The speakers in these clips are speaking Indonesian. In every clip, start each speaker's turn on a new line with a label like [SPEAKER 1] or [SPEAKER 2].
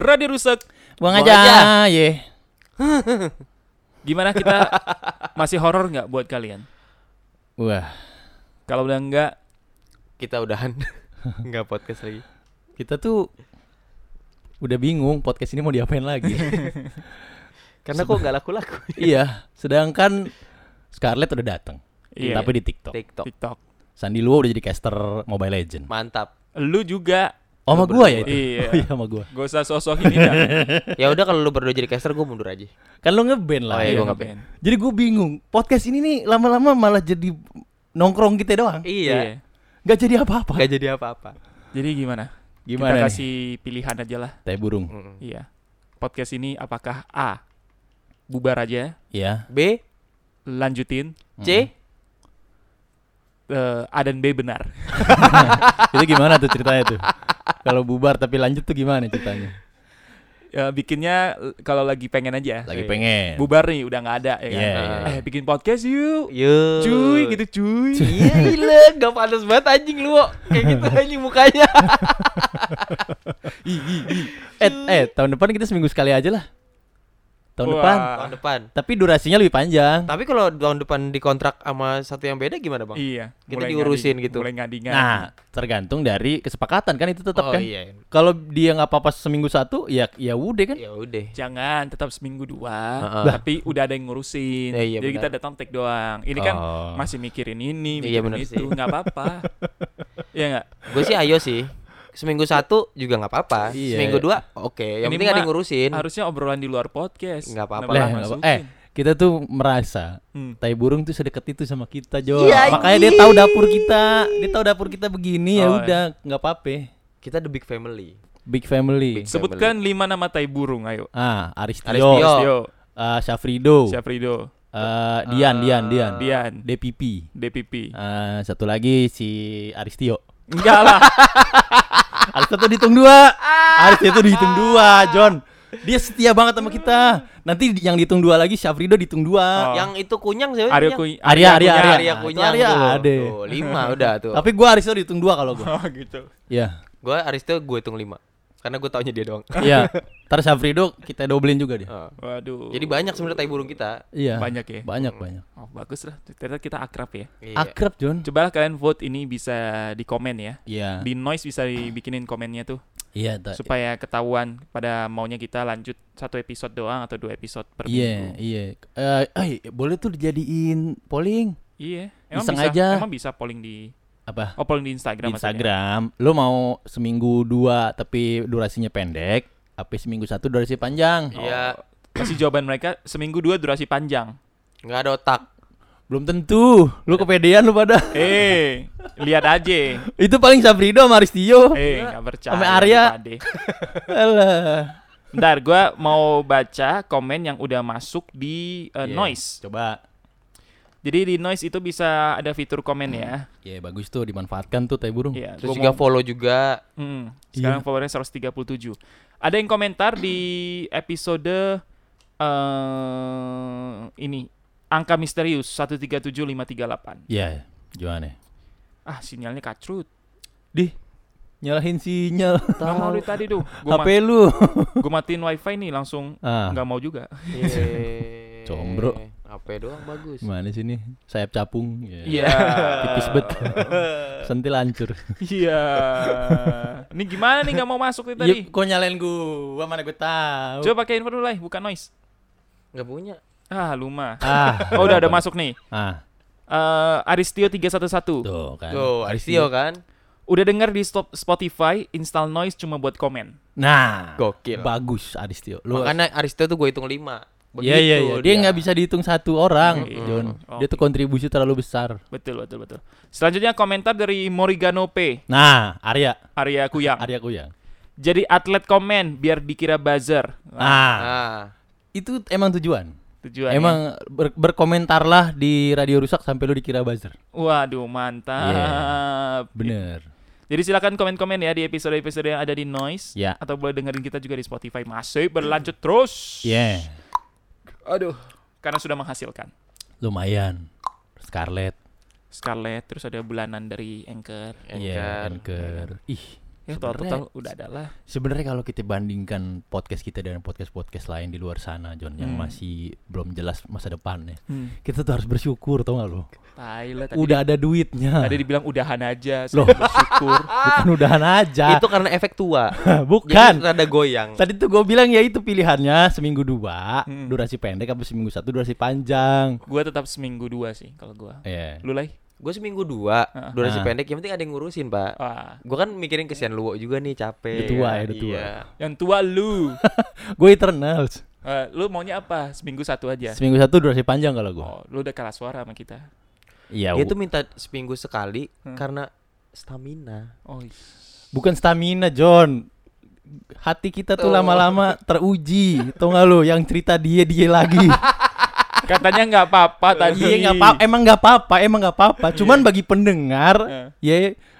[SPEAKER 1] Radio rusak.
[SPEAKER 2] Buang
[SPEAKER 3] aja.
[SPEAKER 2] aja. Iya. Yeah.
[SPEAKER 1] Gimana kita masih horor nggak buat kalian?
[SPEAKER 2] Wah,
[SPEAKER 1] Kalau udah nggak,
[SPEAKER 3] Kita udahan. Enggak podcast lagi.
[SPEAKER 2] kita tuh udah bingung podcast ini mau diapain lagi.
[SPEAKER 3] Karena kok nggak laku-laku.
[SPEAKER 2] iya, sedangkan Scarlett udah datang.
[SPEAKER 1] Iya.
[SPEAKER 2] Tapi di TikTok.
[SPEAKER 3] TikTok.
[SPEAKER 1] TikTok.
[SPEAKER 2] Sandi Luo udah jadi caster Mobile Legend.
[SPEAKER 3] Mantap.
[SPEAKER 1] Lu juga
[SPEAKER 2] Oh, sama gua ya itu.
[SPEAKER 1] Iya.
[SPEAKER 2] Oh, iya sama gua.
[SPEAKER 1] gak usah sosok ini dah.
[SPEAKER 3] Ya udah kalau lu berdua jadi caster gue mundur aja.
[SPEAKER 2] Kan lu ngeband lah.
[SPEAKER 3] Oh, iya,
[SPEAKER 2] ya.
[SPEAKER 3] gua ngeband.
[SPEAKER 2] Jadi gue bingung, podcast ini nih lama-lama malah jadi nongkrong kita doang.
[SPEAKER 3] Iya.
[SPEAKER 2] Gak jadi apa-apa.
[SPEAKER 3] Gak jadi apa-apa.
[SPEAKER 1] Jadi gimana?
[SPEAKER 2] Gimana nih?
[SPEAKER 1] Kita kasih pilihan aja lah.
[SPEAKER 2] Teh burung.
[SPEAKER 3] Mm-mm.
[SPEAKER 1] Iya. Podcast ini apakah A. Bubar aja,
[SPEAKER 2] Iya.
[SPEAKER 3] B,
[SPEAKER 1] lanjutin. eh,
[SPEAKER 3] C,
[SPEAKER 1] A dan B benar.
[SPEAKER 2] Itu gimana tuh ceritanya tuh? Kalau bubar tapi lanjut tuh gimana ceritanya?
[SPEAKER 1] Ya, bikinnya l- kalau lagi pengen aja.
[SPEAKER 2] Lagi
[SPEAKER 3] Iya.
[SPEAKER 2] pengen.
[SPEAKER 1] Bubar nih udah nggak ada ya kan.
[SPEAKER 2] Iya,
[SPEAKER 3] iya, iya.
[SPEAKER 1] Eh bikin podcast yuk.
[SPEAKER 3] Yo.
[SPEAKER 1] Cuy gitu cuy.
[SPEAKER 3] Iya gila, gak panas banget anjing lu Wo. Kayak gitu anjing mukanya
[SPEAKER 2] Eh, eh tahun depan kita seminggu sekali aja lah. Tahun
[SPEAKER 1] Wah.
[SPEAKER 2] depan.
[SPEAKER 3] Tahun depan
[SPEAKER 2] Tapi durasinya lebih panjang.
[SPEAKER 3] Tapi kalau tahun depan dikontrak sama satu yang beda gimana bang?
[SPEAKER 1] Iya.
[SPEAKER 3] Kita
[SPEAKER 1] mulai
[SPEAKER 3] diurusin
[SPEAKER 1] ngadi-
[SPEAKER 3] gitu.
[SPEAKER 1] Mulai ngadingan.
[SPEAKER 2] Nah, tergantung dari kesepakatan kan itu tetap
[SPEAKER 3] Oh
[SPEAKER 2] kan.
[SPEAKER 3] iya
[SPEAKER 2] Kalau dia nggak apa-apa seminggu satu, ya ya udah kan.
[SPEAKER 3] Ya udah
[SPEAKER 1] Jangan tetap seminggu dua,
[SPEAKER 3] Heeh.
[SPEAKER 1] tapi udah ada yang ngurusin.
[SPEAKER 3] Ya, iya,
[SPEAKER 1] Jadi kita
[SPEAKER 3] benar.
[SPEAKER 1] datang take doang. Ini kan
[SPEAKER 2] Oh.
[SPEAKER 1] masih mikirin ini,
[SPEAKER 3] Iya,
[SPEAKER 1] mikirin
[SPEAKER 3] benar sih.
[SPEAKER 1] itu, nggak apa-apa. Iya nggak?
[SPEAKER 3] Gue sih ayo sih Seminggu satu juga gak apa-apa
[SPEAKER 2] Iya.
[SPEAKER 3] Seminggu dua oke Yang
[SPEAKER 1] Ini
[SPEAKER 3] penting ada
[SPEAKER 1] mah
[SPEAKER 3] yang ngurusin
[SPEAKER 1] Harusnya obrolan di luar podcast.
[SPEAKER 3] Nggak
[SPEAKER 2] Lah,
[SPEAKER 3] apa-apa.
[SPEAKER 1] Kenapa
[SPEAKER 2] nggak apa-
[SPEAKER 1] masukin?
[SPEAKER 2] eh, kita tuh merasa
[SPEAKER 1] Hmm.
[SPEAKER 2] tai burung tuh sedekat itu sama kita, Jo.
[SPEAKER 3] Iya,
[SPEAKER 2] Makanya dia
[SPEAKER 3] anjing. iya.
[SPEAKER 2] tahu dapur kita. Dia tahu dapur kita begini ya
[SPEAKER 1] Oh,
[SPEAKER 2] udah nggak apa-apa.
[SPEAKER 3] Kita the big family
[SPEAKER 2] Big family.
[SPEAKER 3] Big-
[SPEAKER 1] Sebutkan lima nama tai burung, ayo.
[SPEAKER 2] Ah, Aristio,
[SPEAKER 3] Aristio. Oh.
[SPEAKER 1] Yo,
[SPEAKER 2] eh, Syafrido,
[SPEAKER 1] Syafrido,
[SPEAKER 2] eh, Dian, Dian, Dian,
[SPEAKER 3] Ah,
[SPEAKER 1] Dian,
[SPEAKER 2] DPP.
[SPEAKER 1] DPP.
[SPEAKER 2] Eh, satu lagi si Aristio.
[SPEAKER 1] Enggak lah.
[SPEAKER 2] Aristio tuh dihitung dua. Aristio tuh dihitung dua, John. Dia setia banget sama kita. Nanti di- yang dihitung dua lagi Syafrido dihitung dua.
[SPEAKER 1] Oh.
[SPEAKER 3] Yang itu kunyang siapa?
[SPEAKER 1] Aryo Kuy-
[SPEAKER 3] kunyang?
[SPEAKER 2] Arya, Arya,
[SPEAKER 3] Arya,
[SPEAKER 2] Arya,
[SPEAKER 3] Arya
[SPEAKER 2] Nah, itu
[SPEAKER 3] kunyang
[SPEAKER 2] Arya
[SPEAKER 3] tuh.
[SPEAKER 2] ada.
[SPEAKER 3] Tuh, Lima udah tuh
[SPEAKER 2] Tapi gua Aristio dihitung dua kalau gua.
[SPEAKER 1] Oh gitu.
[SPEAKER 2] Iya.
[SPEAKER 3] Gue Aristo gue hitung lima Karena gue taunya dia doang
[SPEAKER 2] Iya. Ntar Syafrido kita dobelin juga dia.
[SPEAKER 3] Oh.
[SPEAKER 1] Waduh.
[SPEAKER 3] Jadi banyak sebenarnya tai burung kita
[SPEAKER 2] Iya.
[SPEAKER 1] Banyak ya?
[SPEAKER 2] Banyak, banyak.
[SPEAKER 1] Oh, bagus lah. Ternyata kita akrab ya.
[SPEAKER 3] Iya.
[SPEAKER 2] Akrab, John.
[SPEAKER 1] Coba kalian vote ini bisa di komen ya.
[SPEAKER 2] Iya.
[SPEAKER 1] Di noise bisa dibikinin komennya tuh
[SPEAKER 2] Iya, ta-
[SPEAKER 1] supaya ketahuan pada maunya kita lanjut satu episode doang atau dua episode per
[SPEAKER 2] Iya,
[SPEAKER 1] minggu.
[SPEAKER 2] iya. Eh, eh, boleh tuh dijadiin polling
[SPEAKER 1] Iya. Emang
[SPEAKER 2] Iseng
[SPEAKER 1] bisa
[SPEAKER 2] aja.
[SPEAKER 1] emang bisa polling di
[SPEAKER 2] apa?
[SPEAKER 1] oh polling di
[SPEAKER 2] di
[SPEAKER 1] Instagram maksudnya.
[SPEAKER 2] Instagram lu mau seminggu dua tapi durasinya pendek tapi seminggu satu durasi panjang
[SPEAKER 3] Iya
[SPEAKER 1] Kasih Oh. jawaban mereka seminggu dua durasi panjang.
[SPEAKER 3] Gak ada otak
[SPEAKER 2] belum tentu lu kepedean lu pada
[SPEAKER 1] Eh, lihat aja.
[SPEAKER 2] itu paling Sabrido sama Aristio
[SPEAKER 1] Eh, nggak percaya.
[SPEAKER 2] Sampai Arya.
[SPEAKER 1] Pade.
[SPEAKER 2] Alah.
[SPEAKER 1] Bentar, gue mau baca komen yang udah masuk di eh,
[SPEAKER 2] Iya,
[SPEAKER 1] noise.
[SPEAKER 2] coba
[SPEAKER 1] Jadi di noise itu bisa ada fitur komen ya.
[SPEAKER 2] ya bagus tuh dimanfaatkan tuh tai burung
[SPEAKER 1] Iya,
[SPEAKER 3] Terus
[SPEAKER 1] gua
[SPEAKER 3] juga
[SPEAKER 1] mau-
[SPEAKER 3] follow juga
[SPEAKER 1] Hmm, sekarang
[SPEAKER 2] Iya.
[SPEAKER 1] followernya 137. Ada yang komentar di episode eh ini angka misterius 137538.
[SPEAKER 2] Iya, gimana
[SPEAKER 1] Ah, sinyalnya kacrut.
[SPEAKER 2] dih nyalahin sinyal
[SPEAKER 1] Gak mau dari tadi tuh. Gua,
[SPEAKER 2] HP lu
[SPEAKER 1] ma- gua matiin wifi nih langsung.
[SPEAKER 2] ah
[SPEAKER 1] Gak mau juga.
[SPEAKER 3] Yeay.
[SPEAKER 2] Combro.
[SPEAKER 3] HP Iya. doang bagus.
[SPEAKER 2] gimana sih nih sayap capung Iya.
[SPEAKER 1] Iya.
[SPEAKER 2] tipis bet sentil hancur
[SPEAKER 1] Iya. Ini gimana nih gak mau masuk nih tadi?
[SPEAKER 2] Iya, kok nyalain gua mana gua tahu
[SPEAKER 1] Coba pakai info dulu lah, bukan noise.
[SPEAKER 3] Gak punya.
[SPEAKER 1] Ah, luma.
[SPEAKER 2] ah
[SPEAKER 1] Oh, udah ada masuk nih.
[SPEAKER 2] ah
[SPEAKER 1] Eh Aristio 311.
[SPEAKER 2] tuh kan
[SPEAKER 3] Tuh, Aristio kan.
[SPEAKER 1] Udah denger di stop Spotify, install noise cuma buat komen.
[SPEAKER 2] Nah,
[SPEAKER 3] Gokil.
[SPEAKER 2] bagus Aristio. Lu
[SPEAKER 3] Makanya Aristio tuh gue hitung 5.
[SPEAKER 2] Iya iya iya. Dia nggak bisa dihitung satu orang,
[SPEAKER 1] Mm-mm.
[SPEAKER 2] John.
[SPEAKER 1] Oke.
[SPEAKER 2] Dia tuh kontribusi terlalu besar.
[SPEAKER 1] Betul, betul, betul. Selanjutnya komentar dari Morigano P,
[SPEAKER 2] Nah, Arya,
[SPEAKER 1] Arya Kuyang.
[SPEAKER 2] Arya Kuyang.
[SPEAKER 1] Jadi atlet komen biar dikira buzzer. Nah,
[SPEAKER 2] Nah,
[SPEAKER 3] Nah,
[SPEAKER 2] itu emang tujuan.
[SPEAKER 1] tujuannya.
[SPEAKER 2] Emang ber- berkomentarlah di radio rusak sampai lu dikira buzzer.
[SPEAKER 1] Waduh, mantap.
[SPEAKER 2] Bener.
[SPEAKER 1] Jadi silakan komen-komen ya di episode-episode yang ada di Noise
[SPEAKER 2] Ya.
[SPEAKER 1] atau boleh dengerin kita juga di Spotify. Masih berlanjut terus.
[SPEAKER 2] Yeah.
[SPEAKER 1] Aduh, karena sudah menghasilkan.
[SPEAKER 2] Lumayan. Scarlett.
[SPEAKER 1] Scarlett terus ada bulanan dari Anchor.
[SPEAKER 2] Iya,
[SPEAKER 3] Anchor.
[SPEAKER 2] Anchor. Ih,
[SPEAKER 1] Ya total total udah ada lah.
[SPEAKER 2] Sebenarnya kalau kita bandingkan podcast kita dengan podcast-podcast lain di luar sana, John, yang
[SPEAKER 1] Hmm.
[SPEAKER 2] masih belum jelas masa depannya,
[SPEAKER 1] Hmm.
[SPEAKER 2] kita tuh harus bersyukur, tau gak lo?
[SPEAKER 1] Tai lah, tadi.
[SPEAKER 2] Udah ada duitnya,
[SPEAKER 1] Tadi dibilang udahan aja,
[SPEAKER 2] Loh.
[SPEAKER 1] saya bersyukur.
[SPEAKER 2] bukan udahan aja,
[SPEAKER 3] Itu karena efek tua.
[SPEAKER 2] bukan.
[SPEAKER 3] Jadi rada goyang.
[SPEAKER 2] Tadi tuh gue bilang ya itu pilihannya seminggu dua,
[SPEAKER 1] Hmm.
[SPEAKER 2] durasi pendek, apa seminggu satu durasi panjang.
[SPEAKER 1] Gua tetap seminggu dua sih kalau gua.
[SPEAKER 2] Iya.
[SPEAKER 1] Lu Lai?
[SPEAKER 3] Gue seminggu dua,
[SPEAKER 1] Ah.
[SPEAKER 3] durasi
[SPEAKER 2] Ah.
[SPEAKER 3] pendek. Yang penting ada yang ngurusin, Pak.
[SPEAKER 1] Wah,
[SPEAKER 3] Gue kan mikirin kesian Luwo juga nih, capek.
[SPEAKER 2] Udah tua ya,
[SPEAKER 3] kan?
[SPEAKER 2] udah tua.
[SPEAKER 3] Iya.
[SPEAKER 1] yang tua lu.
[SPEAKER 2] Gue Eternals,
[SPEAKER 1] Eh, lu maunya apa? Seminggu satu aja.
[SPEAKER 2] seminggu satu durasi panjang kalau gue.
[SPEAKER 1] Iya. Oh, lu udah kalah suara sama kita.
[SPEAKER 2] Iya.
[SPEAKER 3] Dia
[SPEAKER 2] bu-
[SPEAKER 3] tuh minta seminggu sekali
[SPEAKER 1] Hmm.
[SPEAKER 3] karena stamina.
[SPEAKER 1] Oh,
[SPEAKER 2] bukan stamina, John. Hati kita tuh
[SPEAKER 3] Oh.
[SPEAKER 2] lama-lama teruji, tau gak lo? Yang cerita dia dia lagi.
[SPEAKER 1] katanya nggak apa-apa tadi.
[SPEAKER 2] Iya nggak apa, emang nggak apa-apa, emang nggak apa-apa. Cuman bagi pendengar, ya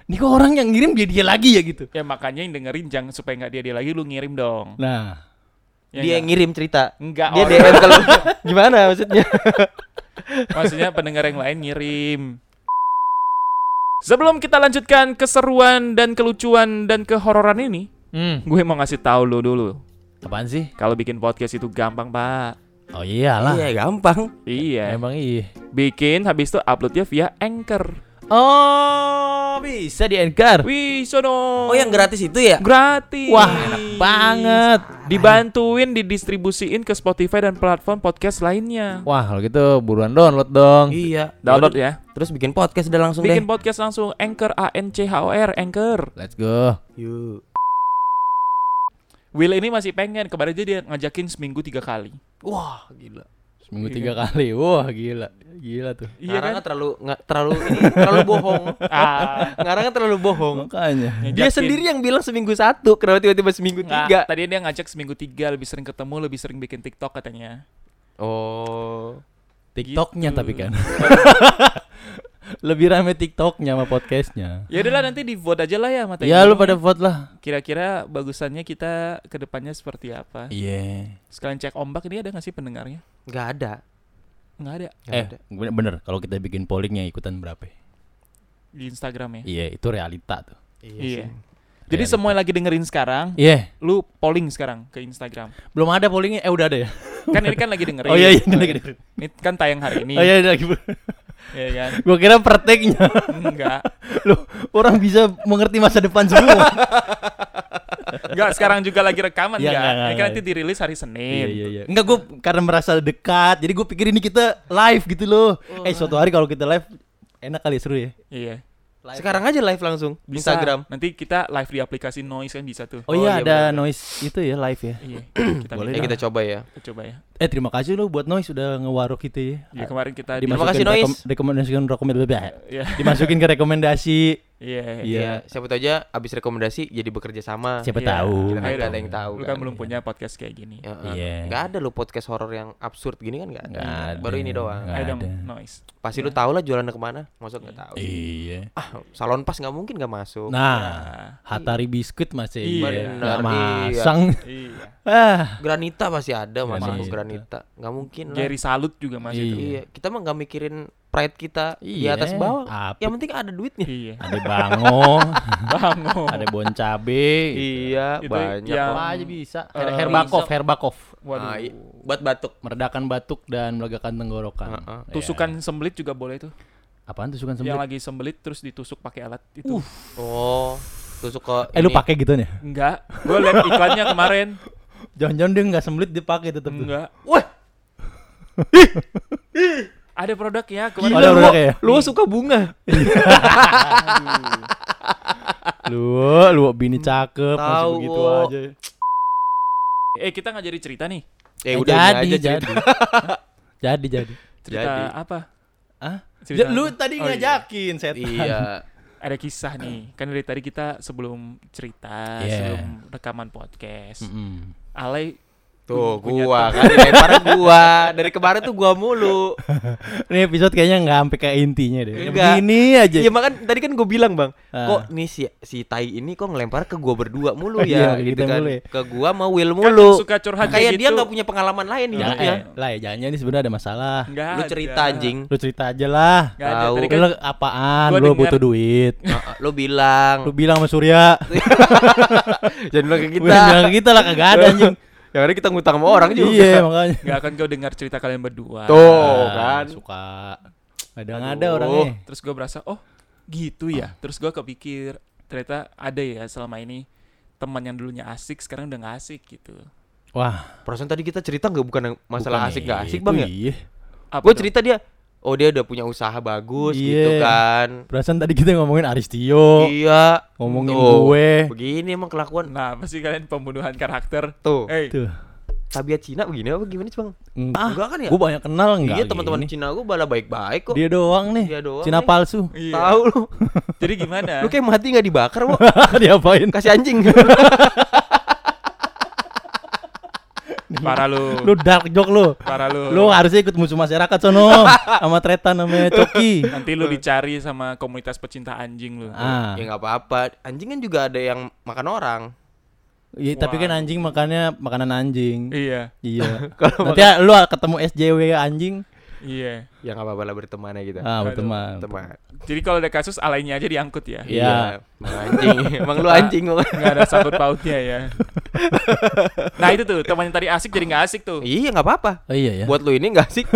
[SPEAKER 2] ini kok orang yang ngirim dia dia lagi ya gitu.
[SPEAKER 1] Eh. Ya makanya yang dengerin jangan supaya nggak dia dia lagi lu ngirim dong.
[SPEAKER 2] Nah,
[SPEAKER 1] Ya
[SPEAKER 3] dia
[SPEAKER 1] nggak?
[SPEAKER 3] yang ngirim cerita.
[SPEAKER 1] Nggak,
[SPEAKER 3] Dia
[SPEAKER 1] orang.
[SPEAKER 3] DM kalau gimana maksudnya?
[SPEAKER 1] Maksudnya pendengar yang lain ngirim. Sebelum kita lanjutkan keseruan dan kelucuan dan kehororan ini,
[SPEAKER 2] hmm.
[SPEAKER 1] gue mau ngasih tahu lu dulu.
[SPEAKER 2] apaan sih?
[SPEAKER 1] Kalau bikin podcast itu gampang, Pak.
[SPEAKER 2] Oh iyalah,
[SPEAKER 3] Iya, gampang.
[SPEAKER 1] Iya.
[SPEAKER 2] emang iya.
[SPEAKER 1] Bikin habis itu uploadnya via Anchor.
[SPEAKER 2] Oh bisa di anchor.
[SPEAKER 1] Wih, sono.
[SPEAKER 3] Oh, yang gratis itu ya?
[SPEAKER 1] gratis.
[SPEAKER 2] Wah enak banget.
[SPEAKER 1] Dibantuin didistribusiin ke Spotify dan platform podcast lainnya.
[SPEAKER 2] Wah kalau gitu buruan download dong.
[SPEAKER 3] Iya.
[SPEAKER 1] Download ya.
[SPEAKER 3] Terus bikin podcast udah langsung
[SPEAKER 1] Bikin
[SPEAKER 3] deh.
[SPEAKER 1] podcast langsung Anchor A N C H O R Anchor.
[SPEAKER 2] Let's go.
[SPEAKER 3] Yuk.
[SPEAKER 1] Will ini masih pengen kemarin aja dia ngajakin seminggu tiga kali.
[SPEAKER 3] Wah, gila.
[SPEAKER 2] Seminggu
[SPEAKER 1] Iya.
[SPEAKER 2] tiga kali. Wah gila, gila tuh.
[SPEAKER 1] Iya kan?
[SPEAKER 3] Ngarang terlalu nggak terlalu ini, terlalu bohong.
[SPEAKER 1] Ah,
[SPEAKER 3] Ngarang kan terlalu bohong.
[SPEAKER 2] kan Makanya.
[SPEAKER 1] ngajakin.
[SPEAKER 3] Dia sendiri yang bilang seminggu satu, kenapa tiba-tiba seminggu
[SPEAKER 1] Nggak,
[SPEAKER 3] tiga?
[SPEAKER 1] Tadi dia ngajak seminggu tiga lebih sering ketemu lebih sering bikin TikTok katanya.
[SPEAKER 3] Oh.
[SPEAKER 2] Tiktoknya
[SPEAKER 1] Gitu.
[SPEAKER 2] tapi kan. Lebih rame Tiktoknya sama podcastnya.
[SPEAKER 1] Ya udahlah nanti di vote aja lah ya mata.
[SPEAKER 2] Ya Hmm. lu pada vote lah.
[SPEAKER 1] Kira-kira bagusannya kita kedepannya seperti apa?
[SPEAKER 2] Iya.
[SPEAKER 1] Sekalian cek ombak ini ada nggak sih pendengarnya?
[SPEAKER 3] Nggak ada.
[SPEAKER 1] Nggak ada
[SPEAKER 3] Nggak
[SPEAKER 2] Eh
[SPEAKER 3] ada.
[SPEAKER 2] bener, bener. kalau kita bikin pollingnya ikutan berapa? ya?
[SPEAKER 1] di Instagram ya.
[SPEAKER 2] Iya itu realita tuh.
[SPEAKER 1] Iya.
[SPEAKER 3] sih.
[SPEAKER 1] Jadi
[SPEAKER 2] Realita.
[SPEAKER 1] semua yang lagi dengerin sekarang,
[SPEAKER 2] Iya
[SPEAKER 1] lu polling sekarang ke Instagram.
[SPEAKER 2] belum ada pollingnya. Eh udah ada ya?
[SPEAKER 1] Kan ini kan lagi dengerin.
[SPEAKER 2] Oh iya iya ini lagi. dengerin.
[SPEAKER 1] Ini kan tayang hari ini.
[SPEAKER 2] Oh iya ini lagi.
[SPEAKER 1] Iya kan?
[SPEAKER 2] Gue kira prakteknya.
[SPEAKER 1] Enggak.
[SPEAKER 2] Loh orang bisa mengerti masa depan semua.
[SPEAKER 1] Enggak, sekarang juga lagi rekaman
[SPEAKER 2] Iya,
[SPEAKER 1] enggak?
[SPEAKER 2] enggak, enggak,
[SPEAKER 1] Ini kan
[SPEAKER 2] enggak.
[SPEAKER 1] nanti dirilis hari Senin.
[SPEAKER 2] iya. Enggak gue karena merasa dekat. Jadi gue pikir ini kita live gitu loh. Eh suatu hari kalau kita live enak kali ya, seru ya.
[SPEAKER 1] Iya.
[SPEAKER 3] Sekarang aja live langsung
[SPEAKER 1] Bisa.
[SPEAKER 3] Instagram.
[SPEAKER 1] Nanti kita live di aplikasi Noise kan bisa tuh.
[SPEAKER 2] Oh, iya,
[SPEAKER 3] iya,
[SPEAKER 2] ada noise itu ya live ya.
[SPEAKER 1] Iya. Kita
[SPEAKER 2] Boleh
[SPEAKER 3] Ya
[SPEAKER 1] minta-
[SPEAKER 3] kita coba ya.
[SPEAKER 1] kita coba ya.
[SPEAKER 2] Eh terima kasih loh buat noise udah ngewarok kita ya.
[SPEAKER 1] Ya kemarin kita di
[SPEAKER 2] Dimasukin
[SPEAKER 3] Terima kasih, Noise.
[SPEAKER 2] rekom- rekomendasikan rekomendasi
[SPEAKER 1] Iya.
[SPEAKER 2] dimasukin ke rekomendasi. Iya.
[SPEAKER 1] Iya.
[SPEAKER 3] Ya, siapa tahu aja abis rekomendasi jadi bekerja sama.
[SPEAKER 2] Siapa
[SPEAKER 1] Iya.
[SPEAKER 2] tahu.
[SPEAKER 3] Kita kan
[SPEAKER 1] Ayo
[SPEAKER 3] nggak ada
[SPEAKER 1] dong.
[SPEAKER 3] yang tahu.
[SPEAKER 1] Lu
[SPEAKER 3] kan.
[SPEAKER 1] kan belum punya podcast kayak gini.
[SPEAKER 3] Ya,
[SPEAKER 2] Iya.
[SPEAKER 3] Nggak ada lo podcast horor yang absurd gini kan nggak ada.
[SPEAKER 2] Nggak ada.
[SPEAKER 3] Baru ini doang.
[SPEAKER 2] Nggak
[SPEAKER 1] Ayo dong
[SPEAKER 2] ada.
[SPEAKER 1] Noise.
[SPEAKER 3] Pasti lu tau lah jualannya kemana. Maksud nggak tahu.
[SPEAKER 2] Iya.
[SPEAKER 3] Ah, salon pas nggak mungkin nggak masuk.
[SPEAKER 2] Nah,
[SPEAKER 1] Nah.
[SPEAKER 2] Hatari biskuit masih
[SPEAKER 1] Iya.
[SPEAKER 2] iya.
[SPEAKER 1] Bener,
[SPEAKER 2] Nggak
[SPEAKER 3] iya.
[SPEAKER 2] masang.
[SPEAKER 1] Iya.
[SPEAKER 2] Ah.
[SPEAKER 3] Granita pasti ada
[SPEAKER 2] Granita.
[SPEAKER 3] masuk Granita. Nggak mungkin lah.
[SPEAKER 1] Jerry Salut juga masih tuh.
[SPEAKER 2] Iya.
[SPEAKER 3] Iya, kita mah nggak mikirin pride kita di
[SPEAKER 2] Iya,
[SPEAKER 3] atas bawah.
[SPEAKER 2] apa-
[SPEAKER 3] Yang penting ada duitnya.
[SPEAKER 1] Iya.
[SPEAKER 2] Ada bango,
[SPEAKER 1] Bango.
[SPEAKER 2] ada bon cabe.
[SPEAKER 3] Iya,
[SPEAKER 1] Itu
[SPEAKER 3] banyak.
[SPEAKER 1] yang-
[SPEAKER 3] kok.
[SPEAKER 2] Apa aja bisa.
[SPEAKER 1] Eh,
[SPEAKER 2] Her- herbakov,
[SPEAKER 3] bisa.
[SPEAKER 2] herbakov.
[SPEAKER 1] Waduh.
[SPEAKER 3] Ah, iya. buat batuk.
[SPEAKER 2] Meredakan batuk dan melegakan tenggorokan.
[SPEAKER 3] Heeh.
[SPEAKER 2] Iya.
[SPEAKER 1] Tusukan sembelit juga boleh tuh.
[SPEAKER 2] Apaan tusukan
[SPEAKER 1] Yang
[SPEAKER 2] sembelit?
[SPEAKER 1] lagi sembelit terus ditusuk pakai alat itu.
[SPEAKER 3] Oh, tusuk ke
[SPEAKER 2] Eh lu
[SPEAKER 3] ini.
[SPEAKER 2] pakai gitu nih?
[SPEAKER 1] Enggak. Gue liat iklannya kemarin.
[SPEAKER 2] Jangan-jangan dia nggak sembelit dipakai tetap. tuh.
[SPEAKER 1] Enggak.
[SPEAKER 3] Wah,
[SPEAKER 1] Ada produk ya
[SPEAKER 2] Gila,
[SPEAKER 1] kemarin.
[SPEAKER 2] Ada
[SPEAKER 3] lu,
[SPEAKER 2] produknya ya?
[SPEAKER 3] lu suka bunga.
[SPEAKER 2] Lu, lu bini cakep masih
[SPEAKER 3] Tahu.
[SPEAKER 2] begitu aja.
[SPEAKER 1] Eh kita nggak jadi cerita nih.
[SPEAKER 2] Eh,
[SPEAKER 3] Eh, udah
[SPEAKER 2] jadi,
[SPEAKER 3] jadi, aja
[SPEAKER 2] jadi.
[SPEAKER 3] cerita.
[SPEAKER 2] jadi jadi.
[SPEAKER 1] Cerita
[SPEAKER 3] Jadi.
[SPEAKER 1] apa?
[SPEAKER 2] Hah?
[SPEAKER 1] Cerita
[SPEAKER 2] Ja- lu
[SPEAKER 1] apa?
[SPEAKER 2] tadi
[SPEAKER 1] Oh, iya.
[SPEAKER 2] ngajakin setan.
[SPEAKER 3] Iya.
[SPEAKER 1] Ada kisah nih. Kan dari tadi kita sebelum cerita,
[SPEAKER 2] Iya.
[SPEAKER 1] sebelum rekaman podcast.
[SPEAKER 2] Mm-mm.
[SPEAKER 1] Alay
[SPEAKER 3] Tuh,
[SPEAKER 1] punya
[SPEAKER 3] gua kan dilempar gua. Dari kemarin tuh gua mulu.
[SPEAKER 2] Ini episode kayaknya nggak sampai ke intinya deh.
[SPEAKER 3] Enggak.
[SPEAKER 2] Ini aja.
[SPEAKER 3] Iya makan tadi kan gua bilang, Bang.
[SPEAKER 2] Ah.
[SPEAKER 3] Kok nih si si Tai ini kok ngelempar ke gua berdua mulu
[SPEAKER 2] Iya,
[SPEAKER 3] ya
[SPEAKER 2] ke
[SPEAKER 3] gitu
[SPEAKER 2] kita
[SPEAKER 3] kan.
[SPEAKER 2] mulu ya.
[SPEAKER 3] Ke gua sama Will
[SPEAKER 1] Kan
[SPEAKER 3] mulu.
[SPEAKER 1] suka curhat
[SPEAKER 3] Kayak
[SPEAKER 1] kayak
[SPEAKER 3] dia
[SPEAKER 1] gitu.
[SPEAKER 3] nggak punya pengalaman lain
[SPEAKER 2] Jangan,
[SPEAKER 3] hidupnya.
[SPEAKER 2] eh, lah ya, jangan ini sebenarnya ada masalah.
[SPEAKER 1] Nggak
[SPEAKER 3] Lu
[SPEAKER 1] ada.
[SPEAKER 3] cerita anjing.
[SPEAKER 2] Lu cerita aja lah.
[SPEAKER 1] Nggak ada.
[SPEAKER 3] Tahu.
[SPEAKER 1] Tadi kan
[SPEAKER 2] Lu apaan?
[SPEAKER 1] Gua
[SPEAKER 2] lu
[SPEAKER 1] denger.
[SPEAKER 2] butuh duit.
[SPEAKER 3] Ah, ah, Lu bilang.
[SPEAKER 2] Lu bilang sama Surya.
[SPEAKER 3] Jangan bilang ke
[SPEAKER 2] Udah bilang kita lah kagak ada anjing.
[SPEAKER 3] Yang ada kita ngutang sama orang juga.
[SPEAKER 2] Iya, makanya.
[SPEAKER 1] nggak akan kau dengar cerita kalian berdua.
[SPEAKER 2] Ah,
[SPEAKER 3] Tuh, kan.
[SPEAKER 2] Suka. Kadang ada orangnya.
[SPEAKER 3] Aduh.
[SPEAKER 1] Terus gue berasa, oh gitu
[SPEAKER 3] Ah.
[SPEAKER 1] ya. Terus gue kepikir ternyata ada ya selama ini teman yang dulunya asik sekarang udah nggak asik gitu.
[SPEAKER 2] Wah,
[SPEAKER 3] Perasaan tadi kita cerita nggak bukan yang masalah
[SPEAKER 2] bukan
[SPEAKER 3] asik nggak asik
[SPEAKER 2] itu,
[SPEAKER 3] bang ya?
[SPEAKER 2] iya.
[SPEAKER 1] Apa
[SPEAKER 3] Gue
[SPEAKER 1] tuh?
[SPEAKER 3] cerita dia, oh dia udah punya usaha bagus gitu
[SPEAKER 2] Iya.
[SPEAKER 3] kan.
[SPEAKER 2] Perasaan tadi kita ngomongin Aristio,
[SPEAKER 3] Iya.
[SPEAKER 2] ngomongin
[SPEAKER 3] Tuh,
[SPEAKER 2] gue.
[SPEAKER 3] Begini emang kelakuan
[SPEAKER 1] Nah, pasti kalian pembunuhan karakter.
[SPEAKER 3] tuh.
[SPEAKER 1] Eh,
[SPEAKER 2] Tuh.
[SPEAKER 3] Tabiat Cina begini apa gimana sih bang?
[SPEAKER 2] Enggak,
[SPEAKER 3] Enggak kan ya?
[SPEAKER 2] gue banyak kenal enggak.
[SPEAKER 3] Iya teman-teman
[SPEAKER 2] gini.
[SPEAKER 3] Cina gue bala baik-baik kok.
[SPEAKER 2] Dia doang nih.
[SPEAKER 3] Dia doang
[SPEAKER 2] Cina
[SPEAKER 3] nih.
[SPEAKER 2] palsu.
[SPEAKER 1] iya.
[SPEAKER 3] Tahu lu.
[SPEAKER 1] Jadi
[SPEAKER 2] Iya.
[SPEAKER 1] gimana?
[SPEAKER 3] Lu kayak mati nggak dibakar kok.
[SPEAKER 2] Diapain?
[SPEAKER 3] Kasih anjing.
[SPEAKER 2] Nah.
[SPEAKER 1] Parah lu.
[SPEAKER 2] Lu dark joke lu.
[SPEAKER 1] Parah lu.
[SPEAKER 2] Lu harusnya ikut musuh masyarakat sono sama Tretan sama Coki.
[SPEAKER 1] Nanti lu dicari sama komunitas pecinta anjing lu.
[SPEAKER 2] Ah.
[SPEAKER 3] ya nggak apa-apa. Anjing kan juga ada yang makan orang.
[SPEAKER 2] Iya, tapi kan anjing makannya makanan anjing.
[SPEAKER 1] Iya,
[SPEAKER 2] Iya. Nanti lu ketemu SJW anjing.
[SPEAKER 1] iya.
[SPEAKER 3] Ya nggak apa-apa lah berteman aja kita.
[SPEAKER 2] Ah,
[SPEAKER 1] Aduh.
[SPEAKER 2] berteman.
[SPEAKER 3] Iya. Teman.
[SPEAKER 1] Jadi kalau ada kasus alainya aja diangkut ya.
[SPEAKER 2] Iya.
[SPEAKER 3] Emang anjing. emang lu anjing kok.
[SPEAKER 1] Nggak ada sangkut pautnya ya. nah itu tuh teman yang tadi asik jadi nggak asik tuh.
[SPEAKER 2] iya,
[SPEAKER 3] Iya nggak apa-apa.
[SPEAKER 2] Oh iya ya.
[SPEAKER 3] Buat lu ini nggak asik.